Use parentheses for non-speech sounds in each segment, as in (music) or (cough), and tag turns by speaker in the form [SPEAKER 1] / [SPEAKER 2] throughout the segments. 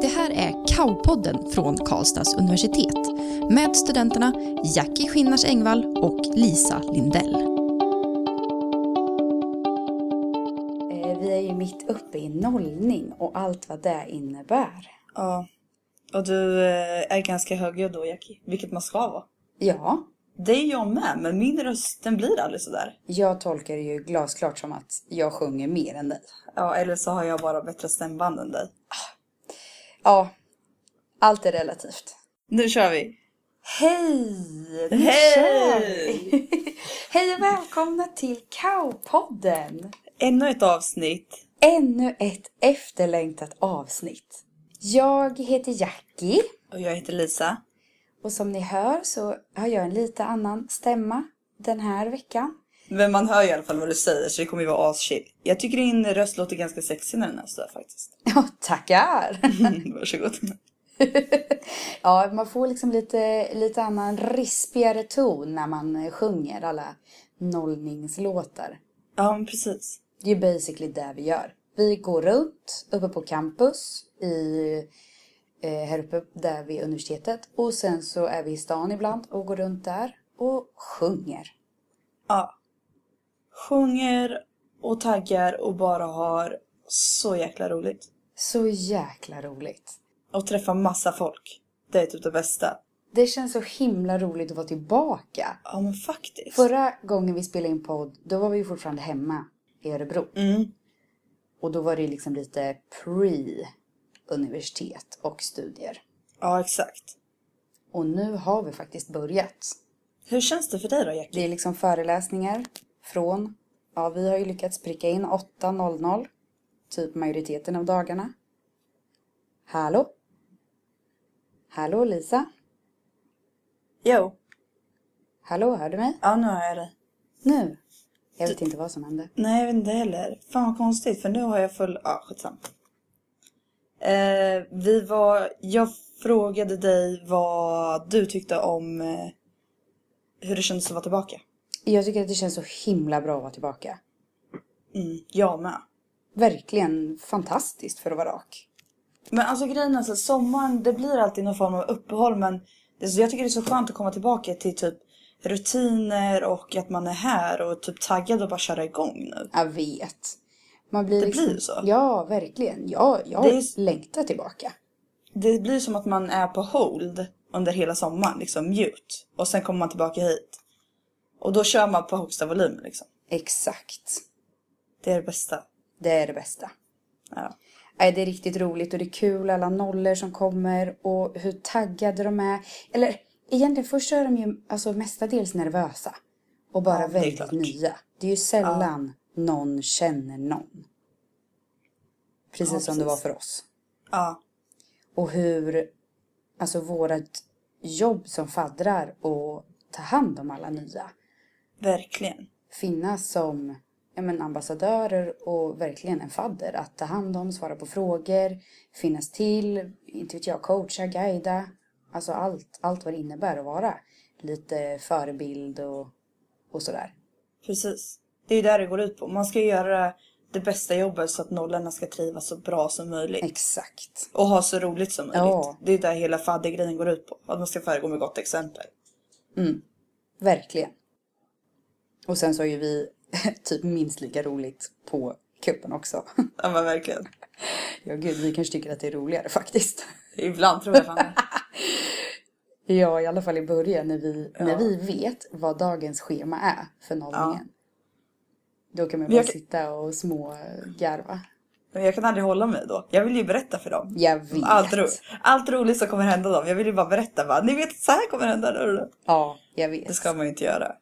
[SPEAKER 1] Det här är Kaopodden från Karlstads universitet med studenterna Jackie Skinnars Engvall och Lisa Lindell.
[SPEAKER 2] Eh, Vi är ju mitt uppe i nollning och allt vad det innebär.
[SPEAKER 3] Ja. Och du eh, är ganska högljudd då, Jackie. Vilket man ska vara.
[SPEAKER 2] Ja,
[SPEAKER 3] Det är jag med, men min röst den blir aldrig sådär.
[SPEAKER 2] jag tolkar det ju glasklart som att jag sjunger mer än dig.
[SPEAKER 3] Ja, eller så har jag bara bättre stämband än dig.
[SPEAKER 2] Ja, allt är relativt.
[SPEAKER 3] Nu kör vi!
[SPEAKER 2] Hej! Nu
[SPEAKER 3] Hej!
[SPEAKER 2] kör vi! (laughs) Hej och välkomna till Kaopodden!
[SPEAKER 3] Ännu ett avsnitt.
[SPEAKER 2] Ännu ett efterlängtat avsnitt. Jag heter Jackie
[SPEAKER 3] Och jag heter Lisa.
[SPEAKER 2] och som ni hör så har jag en lite annan stämma den här veckan. (laughs)
[SPEAKER 3] Men man hör ju i alla fall vad du säger så det kommer ju vara aschill. Jag tycker din röst låter ganska sexig när den är sådär faktiskt.
[SPEAKER 2] Ja, tackar!
[SPEAKER 3] Varsågod.
[SPEAKER 2] Ja, man får liksom lite, lite annan rispigare ton när man eh, sjunger alla nollningslåtar.
[SPEAKER 3] Ja, men precis.
[SPEAKER 2] Det är ju basically det vi gör. Vi går runt uppe på campus i, eh, här uppe där vid universitetet och sen så är vi i stan ibland och går runt där och sjunger.
[SPEAKER 3] Ja. Sjunger och taggar och bara har så jäkla roligt.
[SPEAKER 2] Så jäkla roligt.
[SPEAKER 3] Och träffar massa folk. Det är typ det bästa.
[SPEAKER 2] Det känns så himla roligt att vara tillbaka.
[SPEAKER 3] Ja men faktiskt.
[SPEAKER 2] Förra gången vi spelade in podd, då var vi ju fortfarande hemma i Örebro.
[SPEAKER 3] Mm.
[SPEAKER 2] Och då var det liksom lite pre-universitet och studier.
[SPEAKER 3] Ja exakt.
[SPEAKER 2] Och nu har vi faktiskt börjat.
[SPEAKER 3] Hur känns det för dig då Jackie?
[SPEAKER 2] Det är liksom föreläsningar från, ja vi har ju lyckats pricka in 8.00, typ majoriteten av dagarna. Hallå? Hallå Lisa?
[SPEAKER 3] Jo.
[SPEAKER 2] Hallå, hör du mig?
[SPEAKER 3] Ja nu har jag det.
[SPEAKER 2] Nu? Jag vet inte vad som hände.
[SPEAKER 3] Nej jag vet inte heller. Fan vad konstigt för nu har jag full... Ja skitsamma. Eh, vi var... Jag frågade dig vad du tyckte om eh, hur det kändes att vara tillbaka.
[SPEAKER 2] Jag tycker att det känns så himla bra att vara tillbaka.
[SPEAKER 3] Mm. Jag med.
[SPEAKER 2] Verkligen fantastiskt för att vara rak.
[SPEAKER 3] Men alltså grejen är så att sommaren det blir alltid någon form av uppehåll men det, så jag tycker det är så skönt att komma tillbaka till typ rutiner och att man är här och typ taggad och bara köra igång nu.
[SPEAKER 2] Jag vet. Man blir
[SPEAKER 3] Det
[SPEAKER 2] liksom...
[SPEAKER 3] blir ju så.
[SPEAKER 2] Ja, verkligen. Ja, jag
[SPEAKER 3] Det är-
[SPEAKER 2] längtar tillbaka.
[SPEAKER 3] Det blir som att man är på hold under hela sommaren, liksom mute. Och sen kommer man tillbaka hit. Och då kör man på högsta volym liksom.
[SPEAKER 2] Exakt.
[SPEAKER 3] Det är det bästa.
[SPEAKER 2] Det är det bästa.
[SPEAKER 3] Ja.
[SPEAKER 2] Nej, det är riktigt roligt och det är kul alla nollor som kommer och hur taggade de är. Eller egentligen först så är de ju alltså, mestadels nervösa och bara
[SPEAKER 3] Ja, det är
[SPEAKER 2] väldigt
[SPEAKER 3] klart.
[SPEAKER 2] nya. Det är ju sällan någon känner någon. Precis
[SPEAKER 3] Ja,
[SPEAKER 2] som det var
[SPEAKER 3] precis.
[SPEAKER 2] för oss.
[SPEAKER 3] ja.
[SPEAKER 2] Och hur alltså vårt jobb som faddrar och ta hand om alla nya
[SPEAKER 3] Verkligen.
[SPEAKER 2] finnas som ja, men ambassadörer och verkligen en fadder. Att ta hand om, svara på frågor, finnas till, inte vet jag, coacha, guida. Alltså allt, allt vad det innebär att vara lite förebild och, och sådär.
[SPEAKER 3] Precis. Det är ju där det går ut på. Man ska ju göra det bästa jobbet så att nollorna ska trivas så bra som möjligt.
[SPEAKER 2] Exakt.
[SPEAKER 3] Och ha så roligt som möjligt.
[SPEAKER 2] Ja.
[SPEAKER 3] Det är där hela faddergrejen går ut på. Att man ska föregå med gott exempel.
[SPEAKER 2] Verkligen. Och sen så har ju vi (laughs) typ minst lika roligt på kuppen också.
[SPEAKER 3] Ja men verkligen.
[SPEAKER 2] Ja gud, vi kanske tycker att det är roligare faktiskt.
[SPEAKER 3] Ibland tror jag fan det.
[SPEAKER 2] Ja, i alla fall i början när vi, när vi vet vad dagens schema är för nollningen. Då kan man
[SPEAKER 3] Men
[SPEAKER 2] bara
[SPEAKER 3] jag kan-
[SPEAKER 2] sitta och smågarva.
[SPEAKER 3] Men jag kan aldrig hålla mig då. Jag vill ju berätta för dem.
[SPEAKER 2] Jag vet.
[SPEAKER 3] Allt, ro, allt roligt som kommer hända dem. Jag vill ju bara berätta bara, ni vet så här kommer hända. nu."
[SPEAKER 2] Ja, jag vet.
[SPEAKER 3] Det ska man ju inte göra.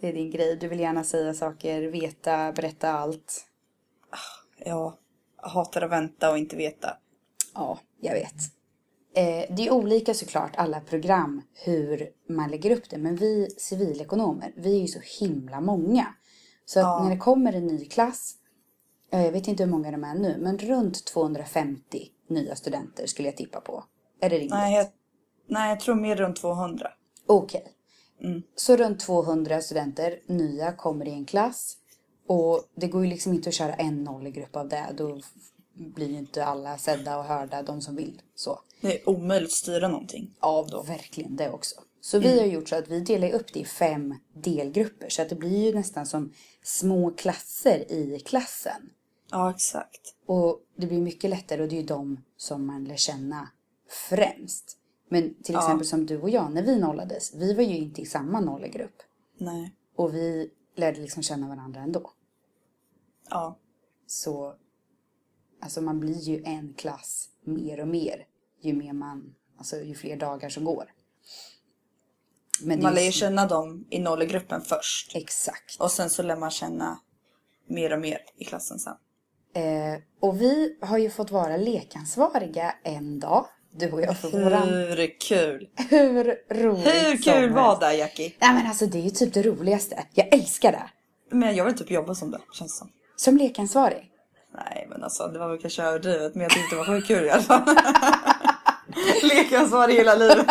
[SPEAKER 2] Det är din grej. Du vill gärna säga saker, veta, berätta allt.
[SPEAKER 3] Ja, jag hatar att vänta och inte veta.
[SPEAKER 2] Ja, jag vet. Eh, det är olika såklart, alla program, hur man lägger upp det. Men vi civilekonomer, vi är ju så himla många. Så att när det kommer en ny klass, eh, jag vet inte hur många de är nu, men runt 250 nya studenter skulle jag tippa på. Är det rimligt?
[SPEAKER 3] Nej, jag, nej, jag tror mer runt 200.
[SPEAKER 2] Okej. Så runt 200 studenter, nya, kommer i en klass. Och det går ju liksom inte att köra en nollgrupp av det. Då blir ju inte alla sedda och hörda, de som vill. Så.
[SPEAKER 3] Det är omöjligt att styra någonting.
[SPEAKER 2] Ja, verkligen det också. Så
[SPEAKER 3] Mm.
[SPEAKER 2] vi har gjort så att vi delar upp det i fem delgrupper så att det blir ju nästan som små klasser i klassen.
[SPEAKER 3] Ja, exakt.
[SPEAKER 2] Och det blir mycket lättare och det är ju de som man lär känna främst. Men till
[SPEAKER 3] Ja.
[SPEAKER 2] exempel som du och jag när vi nollades, vi var ju inte i samma nollgrupp.
[SPEAKER 3] Nej.
[SPEAKER 2] Och vi lärde liksom känna varandra ändå.
[SPEAKER 3] Ja.
[SPEAKER 2] Så alltså man blir ju en klass mer och mer ju mer man, alltså ju fler dagar som går. Men det
[SPEAKER 3] Man
[SPEAKER 2] är
[SPEAKER 3] lär
[SPEAKER 2] ju-
[SPEAKER 3] ju känna dem i nollgruppen först.
[SPEAKER 2] Exakt.
[SPEAKER 3] Och sen så lär man känna mer och mer i klassen sen.
[SPEAKER 2] Eh, och vi har ju fått vara lekansvariga en dag, du och jag, för våran.
[SPEAKER 3] Hur kul!
[SPEAKER 2] Hur roligt
[SPEAKER 3] Hur
[SPEAKER 2] som
[SPEAKER 3] kul
[SPEAKER 2] helst.
[SPEAKER 3] var det Jackie?
[SPEAKER 2] Nej men alltså det är ju typ det roligaste. Jag älskar det.
[SPEAKER 3] Men jag vill typ jobba som det, känns det som.
[SPEAKER 2] Som lekansvarig.
[SPEAKER 3] Nej men alltså det var väl kanske överdrivet men jag tyckte det var sjukt kul i alla fall. (laughs) Lekansvarig hela livet.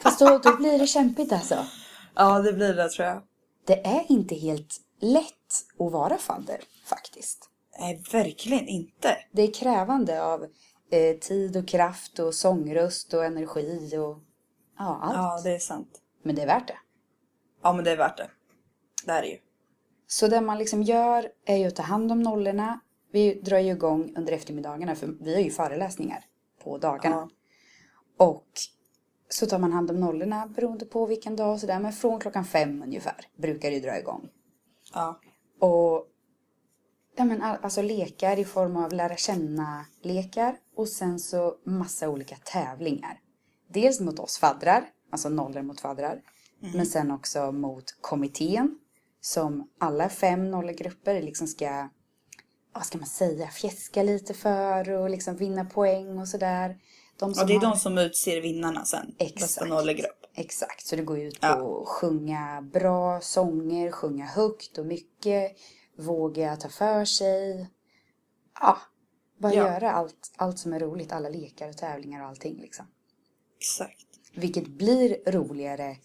[SPEAKER 2] Fast då, då blir det kämpigt alltså.
[SPEAKER 3] Ja det blir det tror jag.
[SPEAKER 2] Det är inte helt lätt att vara fadder faktiskt.
[SPEAKER 3] Nej verkligen inte.
[SPEAKER 2] Det är krävande av eh, tid och kraft och sångröst och energi och ja, allt.
[SPEAKER 3] Ja det är sant.
[SPEAKER 2] Men det är värt det.
[SPEAKER 3] Ja men det är värt det. Det är det ju.
[SPEAKER 2] Så det man liksom gör är ju att ta hand om nollorna. Vi drar ju igång under eftermiddagarna för vi har ju föreläsningar på dagarna.
[SPEAKER 3] Ja.
[SPEAKER 2] Och så tar man hand om nollorna beroende på vilken dag och sådär. Men från klockan fem ungefär brukar det ju dra igång.
[SPEAKER 3] Ja.
[SPEAKER 2] Och ja, men, all- alltså lekar i form av lära känna-lekar och sen så massa olika tävlingar. Dels mot oss faddrar, alltså nollor mot faddrar,
[SPEAKER 3] Mm.
[SPEAKER 2] men sen också mot kommittén som alla fem nollgrupper liksom ska, vad ska man säga, fjäska lite för och liksom vinna poäng och sådär. De
[SPEAKER 3] Och det är
[SPEAKER 2] har-
[SPEAKER 3] de som utser vinnarna sen. Bästa
[SPEAKER 2] Exakt.
[SPEAKER 3] nollgrupp.
[SPEAKER 2] Exakt, så det går ut på
[SPEAKER 3] Ja.
[SPEAKER 2] att sjunga bra sånger, sjunga högt och mycket, våga ta för sig. Ja, bara
[SPEAKER 3] Ja.
[SPEAKER 2] göra allt, allt som är roligt, alla lekar och tävlingar och allting liksom.
[SPEAKER 3] Exakt.
[SPEAKER 2] Vilket blir roligare,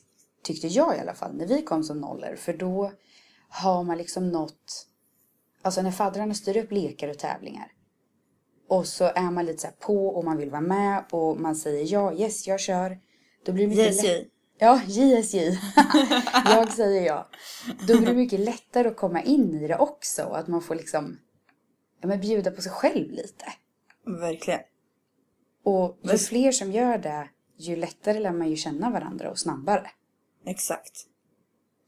[SPEAKER 2] tyckte jag i alla fall, när vi kom som nollor. För då har man liksom nått... Alltså när faddrarna styr upp lekar och tävlingar. Och så är man lite så här på och man vill vara med och man säger ja, yes, jag kör. Då blir det mycket lätt-
[SPEAKER 3] JSJ.
[SPEAKER 2] Ja, JSJ. (laughs) jag säger ja. Då
[SPEAKER 3] (laughs)
[SPEAKER 2] blir det mycket lättare att komma in i det också. och Att man får liksom ja, men bjuda på sig själv lite.
[SPEAKER 3] Verkligen.
[SPEAKER 2] Och ju
[SPEAKER 3] Men-
[SPEAKER 2] fler som gör det, ju lättare lär man ju känna varandra och snabbare.
[SPEAKER 3] Exakt.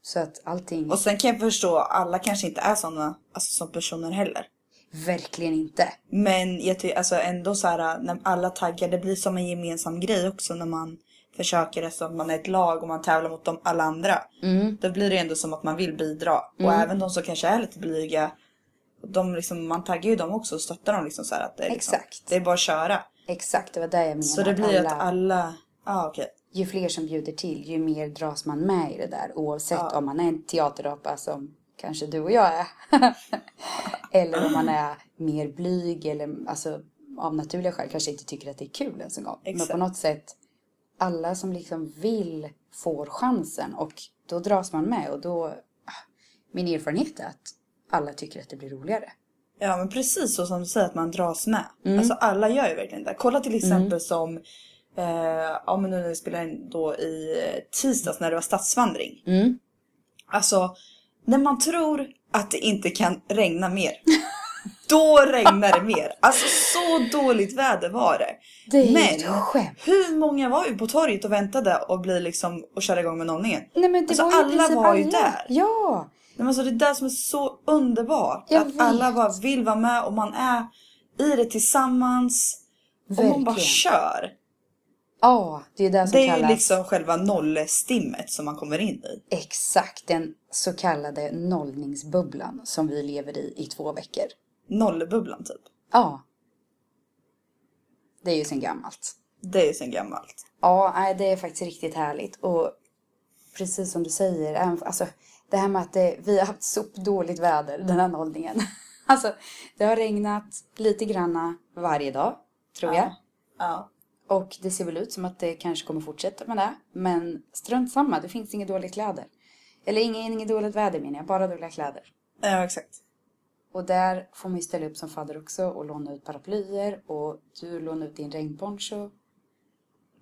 [SPEAKER 2] Så att allting,
[SPEAKER 3] Och sen kan jag förstå, alla kanske inte är sådana alltså, som personer heller.
[SPEAKER 2] verkligen inte.
[SPEAKER 3] Men jag tycker alltså ändå så här när alla taggar, det blir som en gemensam grej också när man försöker eftersom man är ett lag och man tävlar mot de alla andra. Då blir det ändå som att man vill bidra. Och även de som kanske är lite blyga, de liksom, man taggar ju dem också och stöttar dem liksom så här att det är liksom,
[SPEAKER 2] Exakt.
[SPEAKER 3] Det är bara att köra.
[SPEAKER 2] Exakt, det var det jag menade.
[SPEAKER 3] Så det blir ju att alla, ja ah, okej.
[SPEAKER 2] Ju fler som bjuder till, ju mer dras man med i det där. Oavsett
[SPEAKER 3] Ja.
[SPEAKER 2] om man är en teaterapa som kanske du och jag är. (laughs) eller om man är mer blyg eller alltså, av naturliga skäl kanske inte tycker att det är kul ens en gång. Men
[SPEAKER 3] Exakt.
[SPEAKER 2] på något sätt, alla som liksom vill får chansen och då dras man med. Och då, ah, min erfarenhet är att alla tycker att det blir roligare.
[SPEAKER 3] Ja men precis så som du säger att man dras med. Alltså alla gör ju verkligen det. Kolla till exempel som eh, ja men nu när vi spelade in då i tisdags när det var stadsvandring.
[SPEAKER 2] Mm.
[SPEAKER 3] Alltså när man tror att det inte kan regna mer. (laughs) Då regnar det mer. Alltså så dåligt väder var det.
[SPEAKER 2] Det är ju
[SPEAKER 3] Men-
[SPEAKER 2] ett skämt.
[SPEAKER 3] Hur många var ju på torget och väntade och blir liksom och köra igång med nollningen?
[SPEAKER 2] Nej, men det
[SPEAKER 3] Alltså,
[SPEAKER 2] var ju i
[SPEAKER 3] alla
[SPEAKER 2] princip
[SPEAKER 3] var ju
[SPEAKER 2] alla.
[SPEAKER 3] där.
[SPEAKER 2] Ja!
[SPEAKER 3] Nej, men alltså det är det som är så underbart.
[SPEAKER 2] Jag
[SPEAKER 3] att
[SPEAKER 2] vet.
[SPEAKER 3] alla bara vill vara med och man är i det tillsammans. Och man bara
[SPEAKER 2] Verkligen.
[SPEAKER 3] kör.
[SPEAKER 2] Ja, det är det som
[SPEAKER 3] Det är ju
[SPEAKER 2] kallas...
[SPEAKER 3] liksom själva nollstimmet som man kommer in i.
[SPEAKER 2] Exakt, den så kallade nollningsbubblan som vi lever i i två veckor.
[SPEAKER 3] Nollbubblan typ.
[SPEAKER 2] Ja. Det är ju sen gammalt.
[SPEAKER 3] Det är ju sen gammalt.
[SPEAKER 2] Ja, nej, det är faktiskt riktigt härligt. Och precis som du säger, även- alltså, det här med att det, vi har haft sopdåligt väder den här nollningen. (laughs) Alltså, det har regnat lite granna varje dag, tror jag.
[SPEAKER 3] Ja.
[SPEAKER 2] Och det ser väl ut som att det kanske kommer fortsätta med det. Men strunt samma, det finns inga dåliga kläder. Eller inget, inget dåligt väder menar jag, bara dåliga kläder.
[SPEAKER 3] Ja exakt.
[SPEAKER 2] Och där får man ju ställa upp som fadder också och låna ut paraplyer och du lånar ut din regnponcho.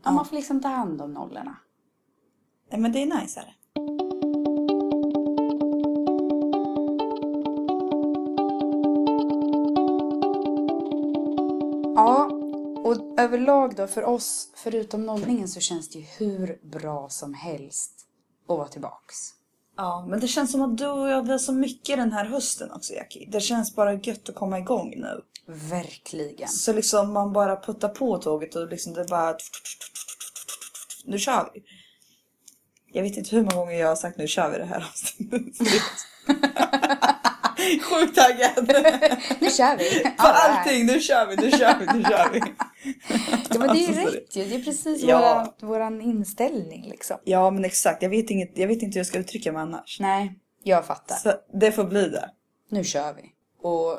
[SPEAKER 2] Ja, man får liksom ta hand om nollorna.
[SPEAKER 3] Nej, men det är najsare.
[SPEAKER 2] Ja, och överlag då för oss, förutom nollningen så känns det ju hur bra som helst att vara tillbaks.
[SPEAKER 3] Ja, men det känns som att du och jag vi har så mycket den här hösten också Jackie. Det känns bara gött att komma igång nu.
[SPEAKER 2] Verkligen.
[SPEAKER 3] Så liksom man bara puttar på tåget och liksom det bara... Nu kör vi. Jag vet inte hur många gånger jag har sagt nu kör vi det här avsnittet. Sjukt taggad
[SPEAKER 2] (laughs) Nu kör (laughs) vi!
[SPEAKER 3] på allting. Nu kör vi, nu kör vi, nu kör vi.
[SPEAKER 2] Ja, men det är ju
[SPEAKER 3] Alltså,
[SPEAKER 2] rätt ju. Det är precis
[SPEAKER 3] Ja.
[SPEAKER 2] våra, våran inställning liksom.
[SPEAKER 3] Ja, men exakt. Jag vet, inget, jag vet inte hur jag ska uttrycka mig annars.
[SPEAKER 2] Nej, jag fattar.
[SPEAKER 3] Så det får bli det.
[SPEAKER 2] Nu kör vi. Och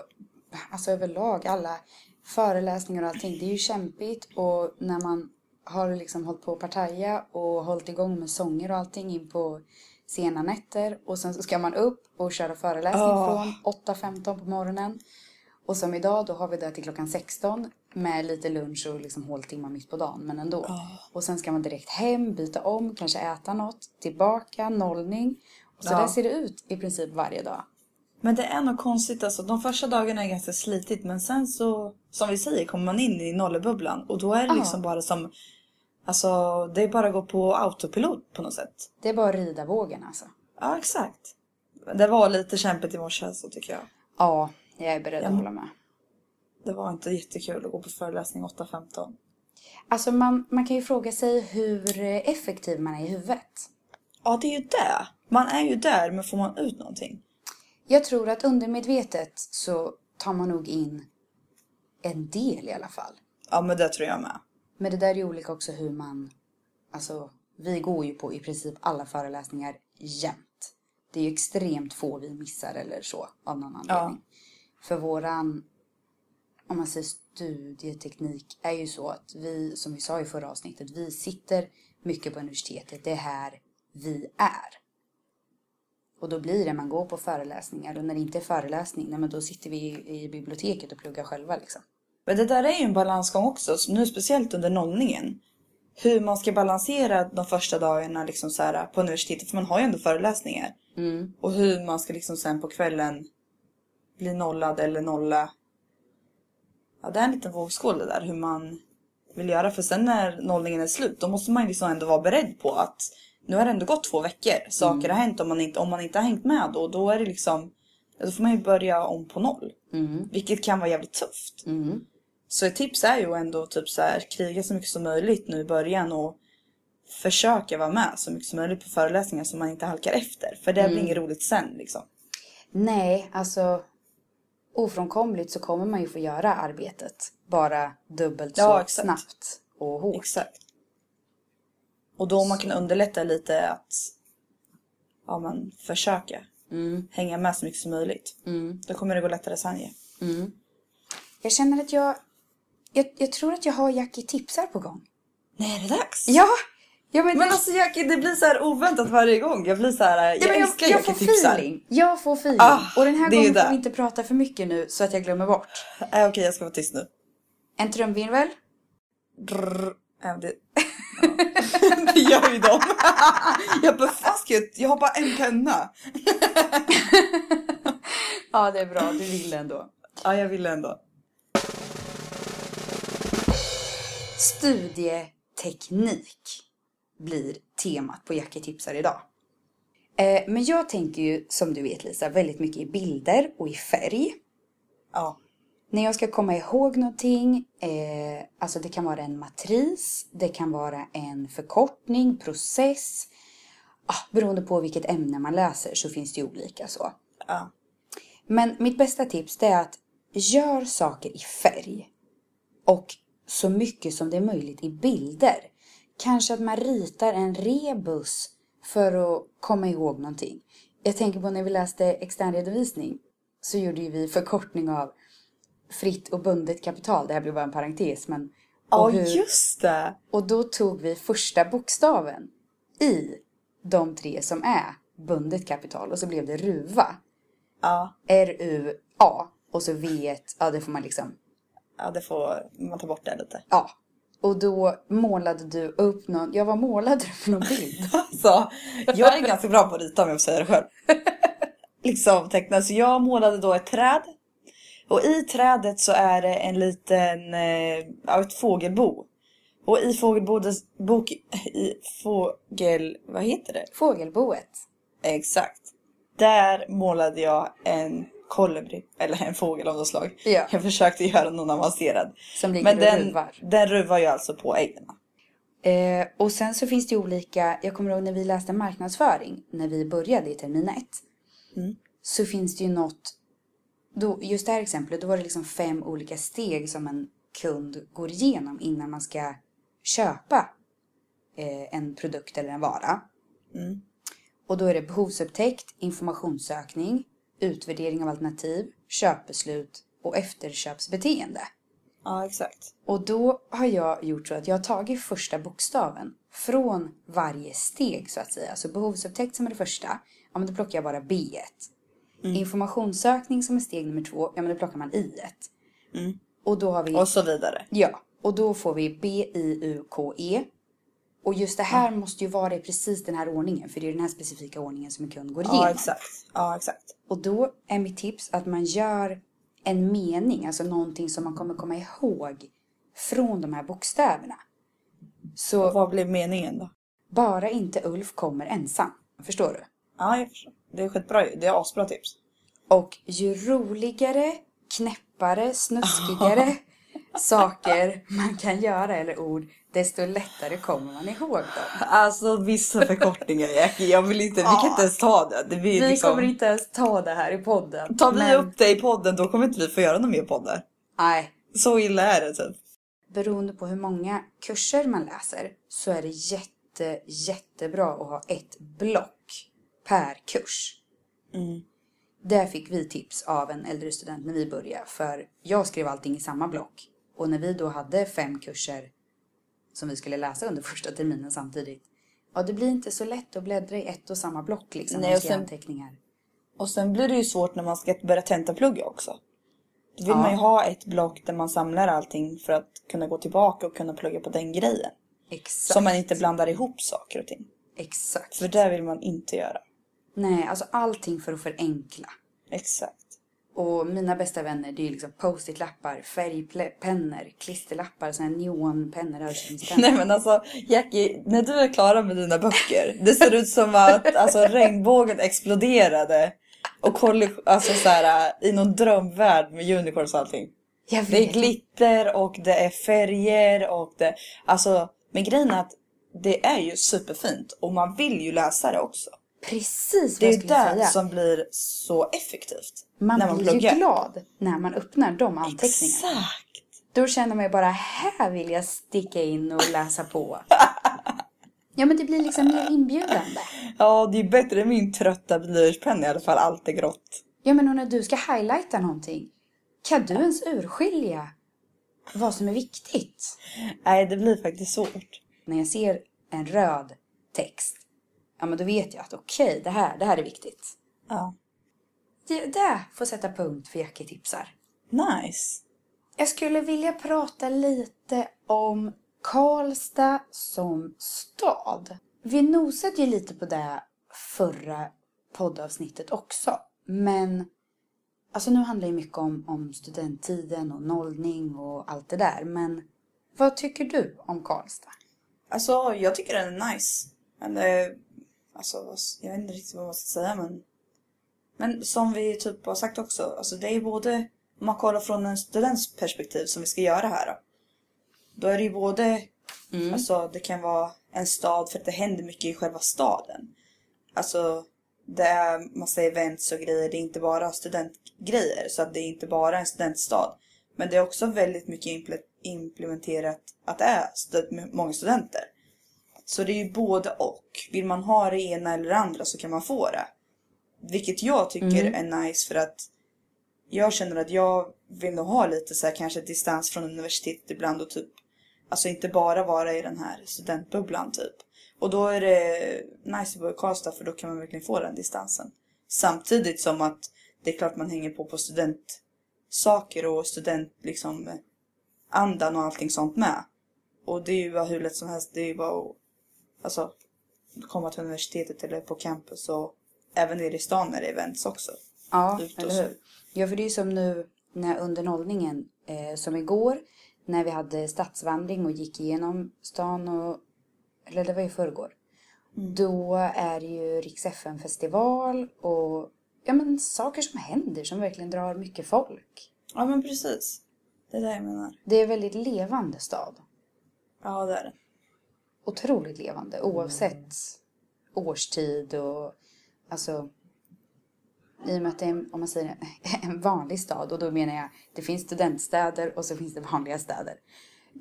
[SPEAKER 2] alltså överlag alla föreläsningar och allting. Det är ju kämpigt och när man har liksom hållit på och partaja och hållit igång med sånger och allting in på sena nätter och sen så ska man upp och köra föreläsning
[SPEAKER 3] Ah.
[SPEAKER 2] från 8.15 på morgonen. Och som idag, då har vi det till klockan 16 med lite lunch och liksom håltimmar mitt på dagen, men ändå. Och sen ska man direkt hem, byta om, kanske äta något, tillbaka, nollning. Och så
[SPEAKER 3] Ja.
[SPEAKER 2] där ser det ut i princip varje dag.
[SPEAKER 3] Men det är nog konstigt alltså. De första dagarna är ganska slitigt men sen så, som vi säger, kommer man in i nollebubblan och då är det
[SPEAKER 2] Ja.
[SPEAKER 3] liksom bara som, alltså det är bara att gå på autopilot på något sätt.
[SPEAKER 2] Det är bara att rida vågen alltså.
[SPEAKER 3] Ja, exakt. Det var lite kämpigt i morse så tycker jag.
[SPEAKER 2] Ja, jag är beredd att hålla med.
[SPEAKER 3] Det var inte jättekul att gå på föreläsning 8.15.
[SPEAKER 2] Alltså man, man kan ju fråga sig hur effektiv man är i huvudet.
[SPEAKER 3] Ja, det är ju det. Man är ju där men får man ut någonting?
[SPEAKER 2] Jag tror att undermedvetet så tar man nog in en del i alla fall.
[SPEAKER 3] Ja, men det tror jag med.
[SPEAKER 2] Men det där är ju olika också hur man... Alltså, vi går ju på i princip alla föreläsningar jämt. Det är ju extremt få vi missar eller så av någon anledning. För våran, om man säger studieteknik, är ju så att vi, som vi sa i förra avsnittet, vi sitter mycket på universitetet. Det är här vi är. Och då blir det, man går på föreläsningar och när det inte är föreläsning, nej men då sitter vi i, i biblioteket och pluggar själva liksom.
[SPEAKER 3] Men det där är ju en balansgång också, så nu speciellt under nollningen. Hur man ska balansera de första dagarna liksom så här, på universitetet, för man har ju ändå föreläsningar. Och hur man ska liksom sen på kvällen bli nollad eller nolla. Ja, det är en liten vågskål det där, hur man vill göra. För sen när nollningen är slut, då måste man ju liksom ändå vara beredd på att nu har det ändå gått två veckor. Saker har hänt om man inte, om man inte har hängt med då. Då är det liksom, då får man ju börja om på noll. Vilket kan vara jävligt tufft. Så ett tips är ju ändå typ så här, kriga så mycket som möjligt nu i början och försöka vara med så mycket som möjligt på föreläsningar så man inte halkar efter. För det blir inget roligt sen liksom.
[SPEAKER 2] Nej, alltså ofrånkomligt så kommer man ju få göra arbetet. Bara dubbelt så
[SPEAKER 3] Ja, exakt.
[SPEAKER 2] snabbt och hårt.
[SPEAKER 3] Exakt. Och då om man kan underlätta lite att ja, men, försöka hänga med så mycket som möjligt. Då kommer det gå lättare sen ju.
[SPEAKER 2] Jag känner att jag, jag... Jag tror att jag har Jackie tipsar på gång.
[SPEAKER 3] Nej, det är dags!
[SPEAKER 2] Ja! ja men
[SPEAKER 3] Men alltså Jackie, det blir så här oväntat varje gång. Jag blir så här, jag,
[SPEAKER 2] Nej, men
[SPEAKER 3] älskar Jackie tipsar.
[SPEAKER 2] feeling. Jag får feeling.
[SPEAKER 3] Ah,
[SPEAKER 2] och den här
[SPEAKER 3] det är ju
[SPEAKER 2] gången får
[SPEAKER 3] det.
[SPEAKER 2] vi inte prata för mycket nu så att jag glömmer bort.
[SPEAKER 3] Äh, Okej, jag ska vara tyst nu.
[SPEAKER 2] En trumvirvel.
[SPEAKER 3] Drrr. Äh, det... Ja. (laughs) det gör ju de. (laughs) jag bara fasket, jag har bara en penna.
[SPEAKER 2] Ja, det är bra. Du vill ändå.
[SPEAKER 3] Ja, jag ville ändå.
[SPEAKER 2] Studieteknik blir temat på Jackie tipsar idag. Eh, men jag tänker ju, som du vet Lisa, väldigt mycket i bilder och i färg.
[SPEAKER 3] Ja.
[SPEAKER 2] När jag ska komma ihåg någonting, eh, alltså det kan vara en matris, det kan vara en förkortning, process. Ah, beroende på vilket ämne man läser så finns det ju olika så.
[SPEAKER 3] ja.
[SPEAKER 2] Men mitt bästa tips det är att gör saker i färg. Och så mycket som det är möjligt i bilder. Kanske att man ritar en rebus för att komma ihåg någonting. Jag tänker på när vi läste extern redovisning så gjorde ju vi förkortning av fritt och bundet kapital. Det här blir bara en parentes men.
[SPEAKER 3] Ja,
[SPEAKER 2] och hur-
[SPEAKER 3] just det.
[SPEAKER 2] och då tog vi första bokstaven i de tre som är bundet kapital och så blev det ruva.
[SPEAKER 3] Ja.
[SPEAKER 2] RU A och så V1, ja det får man liksom,
[SPEAKER 3] Ja, det får man ta bort det (laughs) lite.
[SPEAKER 2] ja. Och då målade du upp någon, jag var målade du för någon
[SPEAKER 3] (laughs)
[SPEAKER 2] bild? alltså,
[SPEAKER 3] Jag är ganska bra på att rita om jag får säga det (laughs) själv. Liksom teckna. Så jag målade då ett träd. Och i trädet så är det en liten, eh, ja, ett fågelbo. Och i fågelbodes, bok, i fågel, vad heter det?
[SPEAKER 2] fågelboet.
[SPEAKER 3] Exakt. Där målade jag en kolibri, eller en fågel av något slag.
[SPEAKER 2] Ja.
[SPEAKER 3] Jag försökte göra någon avancerad.
[SPEAKER 2] Som ligger
[SPEAKER 3] Men
[SPEAKER 2] och
[SPEAKER 3] den,
[SPEAKER 2] ruvar.
[SPEAKER 3] den ruvar ju alltså på äggen.
[SPEAKER 2] Eh, och sen så finns det ju olika, jag kommer ihåg när vi läste marknadsföring, när vi började i termin ett.
[SPEAKER 3] Mm.
[SPEAKER 2] Så finns det ju något, då, just det här exemplet, då var det liksom fem olika steg som en kund går igenom innan man ska köpa eh, en produkt eller en vara.
[SPEAKER 3] Mm.
[SPEAKER 2] Och då är det behovsupptäckt, informationssökning, utvärdering av alternativ, köpbeslut och efterköpsbeteende.
[SPEAKER 3] Ja, exakt.
[SPEAKER 2] Och då har jag gjort så att jag har tagit första bokstaven från varje steg så att säga. Så behovsupptäckt som är det första, ja men då plockar jag bara B1. Informationssökning som är steg nummer två, ja men då plockar man I1.
[SPEAKER 3] Mm.
[SPEAKER 2] Och då har vi,
[SPEAKER 3] Och så vidare.
[SPEAKER 2] ja, och då får vi B, I, U, K, E. Och just det här måste ju vara i precis den här ordningen, för det är den här specifika ordningen som en kund går igenom.
[SPEAKER 3] Ja, exakt. Ja, exakt.
[SPEAKER 2] Och då är mitt tips att man gör en mening, alltså någonting som man kommer komma ihåg från de här bokstäverna. Så
[SPEAKER 3] Vad blev meningen då?
[SPEAKER 2] bara inte Ulf kommer ensam. Förstår du?
[SPEAKER 3] Ja, jag förstår. Det är skitbra ju. Det är asbra tips.
[SPEAKER 2] Och ju roligare, knäppare, snuskigare saker man kan göra eller ord, desto lättare kommer man ihåg dem.
[SPEAKER 3] Alltså vissa förkortningar Jackie. Jag vill inte, vi kan inte ens ta det. det blir,
[SPEAKER 2] Vi
[SPEAKER 3] liksom,
[SPEAKER 2] kommer inte ens ta det här i podden.
[SPEAKER 3] Tar vi
[SPEAKER 2] men-
[SPEAKER 3] upp det i podden då kommer inte vi få göra några mer poddar.
[SPEAKER 2] Nej,
[SPEAKER 3] Så illa är det typ.
[SPEAKER 2] beroende på hur många kurser man läser så är det jätte, jättebra att ha ett block per kurs.
[SPEAKER 3] Mm.
[SPEAKER 2] Där fick vi tips av en äldre student när vi började för jag skrev allting i samma block. Och när vi då hade fem kurser som vi skulle läsa under första terminen samtidigt. Ja, det blir inte så lätt att bläddra i ett och samma block liksom.
[SPEAKER 3] Nej,
[SPEAKER 2] Nej, och
[SPEAKER 3] och
[SPEAKER 2] skriva
[SPEAKER 3] sen-
[SPEAKER 2] anteckningar.
[SPEAKER 3] Och sen blir det ju svårt när man ska börja tentaplugga också. Då vill
[SPEAKER 2] Ja.
[SPEAKER 3] man ju ha ett block där man samlar allting för att kunna gå tillbaka och kunna plugga på den grejen.
[SPEAKER 2] Exakt.
[SPEAKER 3] Så man inte blandar ihop saker och ting.
[SPEAKER 2] Exakt.
[SPEAKER 3] För det vill man inte göra.
[SPEAKER 2] Nej, alltså allting för att förenkla.
[SPEAKER 3] Exakt. (laughs)
[SPEAKER 2] Och mina bästa vänner det är ju liksom post-it-lappar, färgpennor, klisterlappar, såna här neonpennor, översyningspennor.
[SPEAKER 3] Nej men alltså Jackie, när du är klara med dina böcker, det ser ut som att alltså, regnbågen exploderade. Och kolli- alltså, så här, i någon drömvärld med unicorns och allting.
[SPEAKER 2] Jag
[SPEAKER 3] (laughs) Det är
[SPEAKER 2] vet.
[SPEAKER 3] glitter och det är färger och det... Alltså, men grejen är att det är ju superfint och man vill ju läsa det också.
[SPEAKER 2] Precis vad
[SPEAKER 3] Det är
[SPEAKER 2] jag
[SPEAKER 3] ju
[SPEAKER 2] skulle
[SPEAKER 3] det
[SPEAKER 2] säga.
[SPEAKER 3] som blir så effektivt.
[SPEAKER 2] Man,
[SPEAKER 3] när man
[SPEAKER 2] blir
[SPEAKER 3] pluggar.
[SPEAKER 2] ju glad när man öppnar de anteckningarna.
[SPEAKER 3] Exakt!
[SPEAKER 2] Då känner man ju bara, här vill jag sticka in och läsa
[SPEAKER 3] (laughs)
[SPEAKER 2] på. ja men det blir liksom mer inbjudande.
[SPEAKER 3] Ja, det är ju bättre än min trötta blyertspenna i alla fall. Allt är grått.
[SPEAKER 2] Ja men och när du ska highlighta någonting, kan du ens urskilja vad som är viktigt?
[SPEAKER 3] Nej, det blir faktiskt svårt.
[SPEAKER 2] när jag ser en röd text, ja men då vet jag att okej, det, här, det här är viktigt.
[SPEAKER 3] Ja.
[SPEAKER 2] Det, det får sätta punkt för Jackie tipsar.
[SPEAKER 3] Nice.
[SPEAKER 2] Jag skulle vilja prata lite om Karlstad som stad. Vi nosade ju lite på det förra poddavsnittet också. Men alltså nu handlar ju mycket om, om studenttiden och nollning och allt det där. Men vad tycker du om Karlstad?
[SPEAKER 3] Alltså jag tycker den är nice. Men eh, alltså vad s- jag vet inte riktigt vad man ska säga men. Men som vi typ har sagt också, alltså det är både om man kollar från en students perspektiv som vi ska göra här då. Då är det ju både, alltså det kan vara en stad för att det händer mycket i själva staden. Alltså det är massa events och grejer, det är inte bara studentgrejer så att det är inte bara en studentstad. Men det är också väldigt mycket imple- implementerat att det är stud- många studenter. Så det är ju både och. Vill man ha det ena eller det andra så kan man få det. Vilket jag tycker är nice för att jag känner att jag vill nog ha lite så här kanske distans från universitetet ibland och typ alltså inte bara vara i den här studentbubblan typ. Och då är det nice att bo i Karlstad för då kan man verkligen få den distansen. Samtidigt som att det är klart man hänger på på studentsaker och student liksom eh, andan och allting sånt med. Och det är ju bara hur lätt som helst. Det är ju bara att alltså, komma till universitetet eller på campus och även nere i stan när det är events också.
[SPEAKER 2] Ja,
[SPEAKER 3] Ut och
[SPEAKER 2] eller
[SPEAKER 3] så.
[SPEAKER 2] hur? Ja, för det är ju som nu när under nollningen, eh, som igår, när vi hade stadsvandring och gick igenom stan och, eller det var i förrgår.
[SPEAKER 3] Mm.
[SPEAKER 2] Då är det ju Riks FN-festival och ja, men saker som händer som verkligen drar mycket folk.
[SPEAKER 3] Ja men precis. Det är det jag menar.
[SPEAKER 2] Det är en väldigt levande stad.
[SPEAKER 3] Ja det är det.
[SPEAKER 2] Otroligt levande oavsett årstid och alltså i och med att det är, en- om man säger en, (laughs) en vanlig stad och då menar jag det finns studentstäder och så finns det vanliga städer.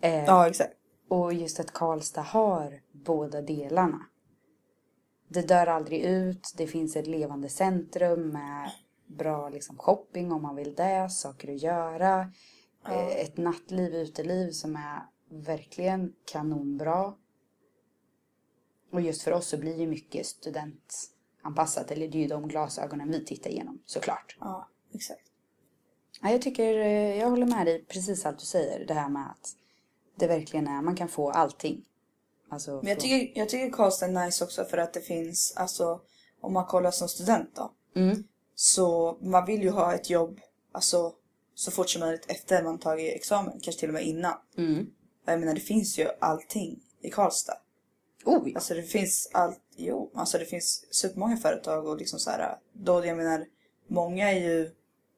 [SPEAKER 2] Eh,
[SPEAKER 3] Ja exakt.
[SPEAKER 2] Och just att Karlstad har båda delarna. Det dör aldrig ut, det finns ett levande centrum med bra liksom, shopping om man vill det, saker att göra. eh, Ett nattliv, uteliv som är verkligen kanonbra. Och just för oss så blir ju mycket studentanpassat, eller det är ju de glasögonen vi tittar igenom såklart.
[SPEAKER 3] Ja exakt.
[SPEAKER 2] Ja, jag tycker, eh, jag håller med dig precis allt du säger. Det här med att det verkligen är, man kan få allting. Alltså,
[SPEAKER 3] Men jag
[SPEAKER 2] från-
[SPEAKER 3] tycker, jag tycker Karlstad är nice också för att det finns, alltså om man kollar som student då.
[SPEAKER 2] Mm.
[SPEAKER 3] Så man vill ju ha ett jobb, alltså så fort som möjligt efter man tagit examen, kanske till och med innan.
[SPEAKER 2] Mm.
[SPEAKER 3] Jag menar det finns ju allting i Karlstad.
[SPEAKER 2] Oj!
[SPEAKER 3] Alltså det finns allt, jo, alltså det finns supermånga företag och liksom så här, då jag menar, många är ju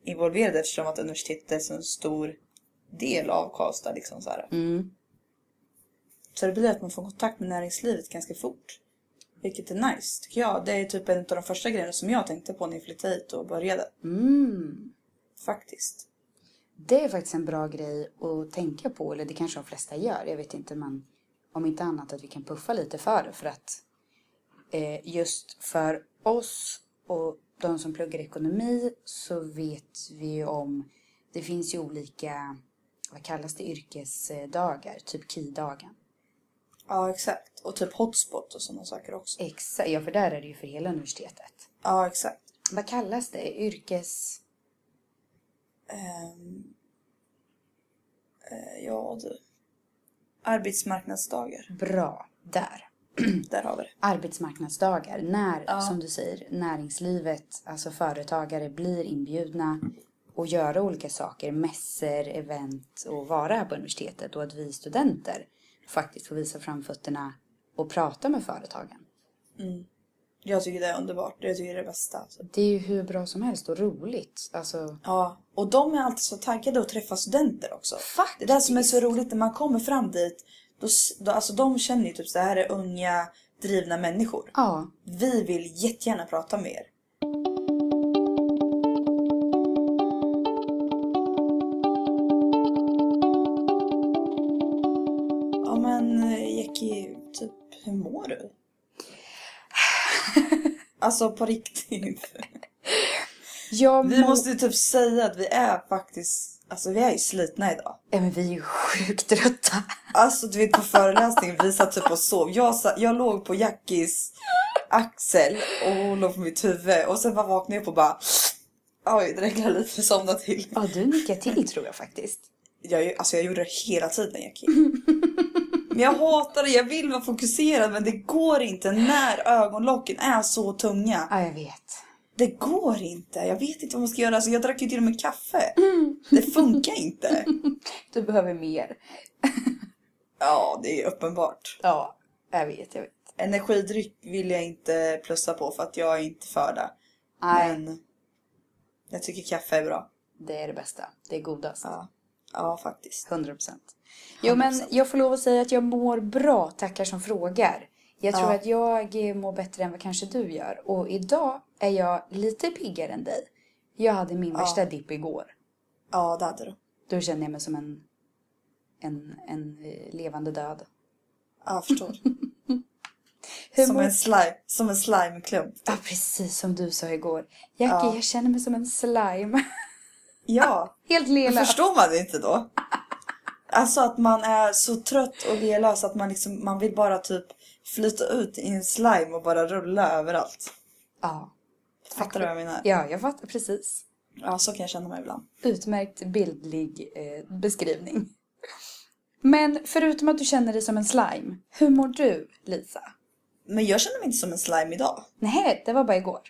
[SPEAKER 3] involverade eftersom att universitetet är en så stor del av Karlstad liksom så här.
[SPEAKER 2] Mm.
[SPEAKER 3] Så det blir att man får kontakt med näringslivet ganska fort. Vilket är nice tycker jag. Det är typ en av de första grejerna som jag tänkte på när jag flyttade hit och började.
[SPEAKER 2] Mm.
[SPEAKER 3] Faktiskt.
[SPEAKER 2] Det är faktiskt en bra grej att tänka på, eller det kanske de flesta gör. Jag vet inte, men om inte annat att vi kan puffa lite för det. För att eh, just för oss och de som pluggar ekonomi så vet vi ju om, det finns ju olika, vad kallas det, yrkesdagar, typ KI-dagen.
[SPEAKER 3] Ja exakt. Och typ hotspot och sådana saker också.
[SPEAKER 2] Exakt, ja för där är det ju för hela universitetet.
[SPEAKER 3] Ja exakt.
[SPEAKER 2] Vad kallas det? Yrkes...
[SPEAKER 3] Ehm, eh, ja du. Arbetsmarknadsdagar.
[SPEAKER 2] Bra, där.
[SPEAKER 3] Där har vi det.
[SPEAKER 2] Arbetsmarknadsdagar, när,
[SPEAKER 3] Ja.
[SPEAKER 2] som du säger, näringslivet, alltså företagare blir inbjudna och göra olika saker, mässor, event och vara här på universitetet och att vi studenter faktiskt får visa framfötterna och prata med företagen.
[SPEAKER 3] Jag tycker det är underbart. Jag tycker det är det bästa. Alltså.
[SPEAKER 2] Det är ju hur bra som helst och roligt. Alltså,
[SPEAKER 3] Ja, och de är alltid så taggade att träffa studenter också.
[SPEAKER 2] Faktiskt.
[SPEAKER 3] Det är det som är så roligt när man kommer fram dit. Då, s- då, alltså de känner ju typ så här är unga drivna människor.
[SPEAKER 2] ja,
[SPEAKER 3] Vi vill jättegärna prata med er. Ja men eh, Jackie, typ hur mår du? Alltså på riktigt.
[SPEAKER 2] jag
[SPEAKER 3] Vi måste ju typ säga att vi är faktiskt, alltså vi är ju slitna idag.
[SPEAKER 2] Ja, men vi är ju sjukt trötta.
[SPEAKER 3] Alltså du vet på föreläsningen, vi satt typ och sov. Jag, sa, jag låg på Jackies axel och hon låg på mitt huvud och sen bara vaknade jag upp och bara Oj, det regnar lite, somnade till.
[SPEAKER 2] Ja, du nickar till tror jag faktiskt.
[SPEAKER 3] Jag, alltså jag gjorde det hela tiden Jackie. Men jag hatar det, jag vill vara fokuserad men det går inte när ögonlocken är så tunga.
[SPEAKER 2] Ja, jag vet.
[SPEAKER 3] Det går inte. Jag vet inte vad man ska göra. Alltså, jag drack ju till och med kaffe. Det funkar inte.
[SPEAKER 2] Du behöver mer.
[SPEAKER 3] Ja, det är uppenbart.
[SPEAKER 2] Ja, jag vet, jag vet.
[SPEAKER 3] Energidryck vill jag inte plussa på för att jag är inte för det.
[SPEAKER 2] Nej,
[SPEAKER 3] Men jag tycker kaffe är bra.
[SPEAKER 2] det är det bästa. Det är godast.
[SPEAKER 3] Ja, ja faktiskt.
[SPEAKER 2] 100 procent. Jo, men
[SPEAKER 3] 100%.
[SPEAKER 2] jag får lov att säga att jag mår bra, tackar som frågar. Jag tror
[SPEAKER 3] Ja.
[SPEAKER 2] att jag eh, mår bättre än vad kanske du gör. Och idag är jag lite piggare än dig. Jag hade min värsta dipp igår.
[SPEAKER 3] Ja, det hade du.
[SPEAKER 2] Då kände jag mig som en, en, en eh, levande död.
[SPEAKER 3] Ja, jag förstår.
[SPEAKER 2] (laughs) Hur
[SPEAKER 3] som,
[SPEAKER 2] mår
[SPEAKER 3] en slime, som en slimeklump.
[SPEAKER 2] Ja, precis som du sa igår. Jackie, jag känner mig som en slime. (laughs)
[SPEAKER 3] Ja,
[SPEAKER 2] Helt
[SPEAKER 3] men
[SPEAKER 2] lelös.
[SPEAKER 3] förstår man det inte då? Alltså att man är så trött och lelös att man liksom, man vill bara typ flyta ut i en slime och bara rulla överallt.
[SPEAKER 2] Ja,
[SPEAKER 3] Fattar du vad jag menar?
[SPEAKER 2] ja, jag fattar precis.
[SPEAKER 3] Ja, så kan jag känna mig ibland.
[SPEAKER 2] Utmärkt bildlig eh, beskrivning. Men förutom att du känner dig som en slime, hur mår du Lisa?
[SPEAKER 3] Men jag känner mig inte som en slime idag.
[SPEAKER 2] Nej, det var bara igår.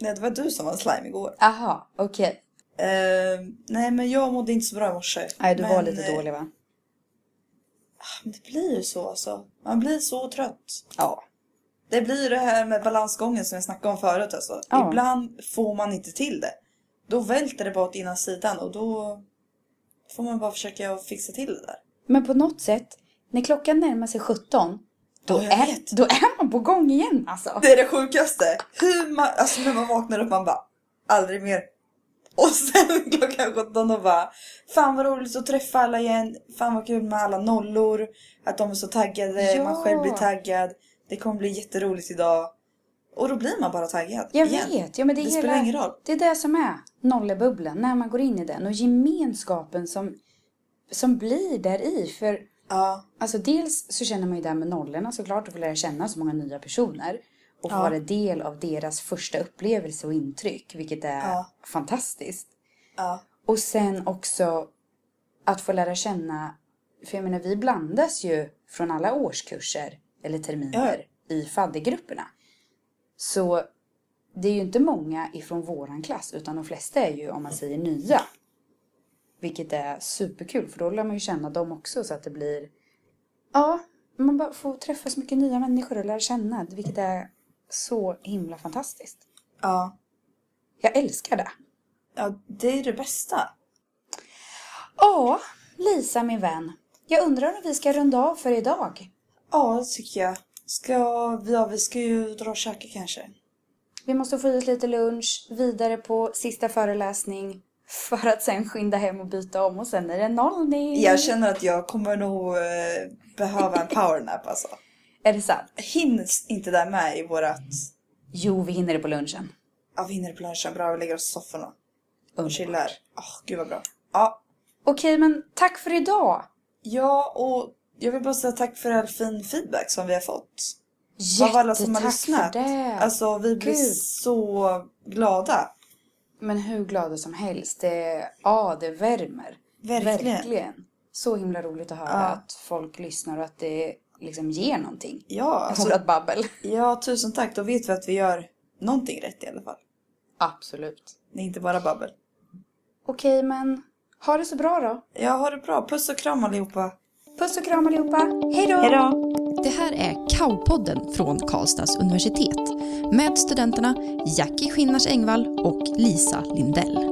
[SPEAKER 3] Nej, det var du som var en slime igår.
[SPEAKER 2] Aha, okej.
[SPEAKER 3] Eh, nej, men jag mådde inte så bra i morse.
[SPEAKER 2] Nej, du
[SPEAKER 3] men,
[SPEAKER 2] var lite
[SPEAKER 3] eh,
[SPEAKER 2] dålig va?
[SPEAKER 3] Men det blir ju så alltså. Man blir så trött.
[SPEAKER 2] Ja.
[SPEAKER 3] Det blir ju det här med balansgången som jag snackade om förut alltså.
[SPEAKER 2] Ja.
[SPEAKER 3] Ibland får man inte till det. Då välter det bara åt ena sidan och då får man bara försöka fixa till det där.
[SPEAKER 2] Men på något sätt, när klockan närmar sig 17, då,
[SPEAKER 3] Ja, jag
[SPEAKER 2] är,
[SPEAKER 3] vet.
[SPEAKER 2] då är man på gång igen alltså.
[SPEAKER 3] Det är det sjukaste! Hur man, alltså när man vaknar upp man bara aldrig mer. Och sen (laughs) klockan 17 och bara fan vad roligt att träffa alla igen. Fan vad kul med alla nollor. Att de är så taggade,
[SPEAKER 2] Ja.
[SPEAKER 3] man själv blir taggad. Det kommer bli jätteroligt idag. Och då blir man bara taggad
[SPEAKER 2] Jag
[SPEAKER 3] igen.
[SPEAKER 2] vet, ja men det är
[SPEAKER 3] Det
[SPEAKER 2] hela...
[SPEAKER 3] spelar ingen roll.
[SPEAKER 2] Det är det som är nollebubblan, när man går in i den och gemenskapen som, som blir där i. För
[SPEAKER 3] Ja.
[SPEAKER 2] alltså dels så känner man ju det här med nollorna såklart och får lära känna så många nya personer. Och
[SPEAKER 3] Ja.
[SPEAKER 2] vara del av deras första upplevelse och intryck, vilket är
[SPEAKER 3] Ja.
[SPEAKER 2] fantastiskt.
[SPEAKER 3] Ja.
[SPEAKER 2] Och sen också att få lära känna, för jag menar vi blandas ju från alla årskurser eller terminer i faddergrupperna. Så det är ju inte många ifrån våran klass utan de flesta är ju om man säger nya. Vilket är superkul för då lär man ju känna dem också så att det blir Ja, man bara får träffa så mycket nya människor och lära känna vilket är så himla fantastiskt.
[SPEAKER 3] Ja.
[SPEAKER 2] Jag älskar det.
[SPEAKER 3] Ja, det är det bästa.
[SPEAKER 2] Ja, Lisa min vän. Jag undrar om vi ska runda av för idag.
[SPEAKER 3] Ja, det tycker jag. Ska, ja, vi ska ju dra och käka kanske.
[SPEAKER 2] Mm. Vi måste få i oss lite lunch, vidare på sista föreläsning för att sen skynda hem och byta om och sen är det nollning.
[SPEAKER 3] Jag känner att jag kommer nog eh, behöva en powernap alltså.
[SPEAKER 2] Är det sant?
[SPEAKER 3] Hinns inte där med i vårat...
[SPEAKER 2] Jo, vi hinner det på lunchen.
[SPEAKER 3] Ja, vi hinner på lunchen. Bra, vi lägger oss i soffan och- och
[SPEAKER 2] Underbart.
[SPEAKER 3] chillar. Åh, gud vad bra. Ja.
[SPEAKER 2] Okej, men tack för idag.
[SPEAKER 3] ja, och jag vill bara säga tack för all fin feedback som vi har fått. Av alla som
[SPEAKER 2] Jättetack
[SPEAKER 3] har
[SPEAKER 2] för
[SPEAKER 3] lyssnat.
[SPEAKER 2] det.
[SPEAKER 3] Alltså, vi blir
[SPEAKER 2] Gud.
[SPEAKER 3] så glada.
[SPEAKER 2] Men hur glada som helst. Det, ja, det värmer.
[SPEAKER 3] Verkligen.
[SPEAKER 2] Så himla roligt att höra
[SPEAKER 3] Ja.
[SPEAKER 2] att folk lyssnar och att det liksom ger någonting.
[SPEAKER 3] Ja, alltså,
[SPEAKER 2] Vårat babbel.
[SPEAKER 3] ja, tusen tack. Då vet vi att vi gör någonting rätt i alla fall.
[SPEAKER 2] Absolut.
[SPEAKER 3] Det är inte bara babbel.
[SPEAKER 2] Okej, men ha det så bra då.
[SPEAKER 3] Ja, ha det bra. Puss och kram allihopa.
[SPEAKER 2] Puss och kram allihopa. Hej då!
[SPEAKER 3] då!
[SPEAKER 1] Det här är Kaopodden från Karlstads universitet med studenterna Jackie Skinnars Engvall och Lisa Lindell.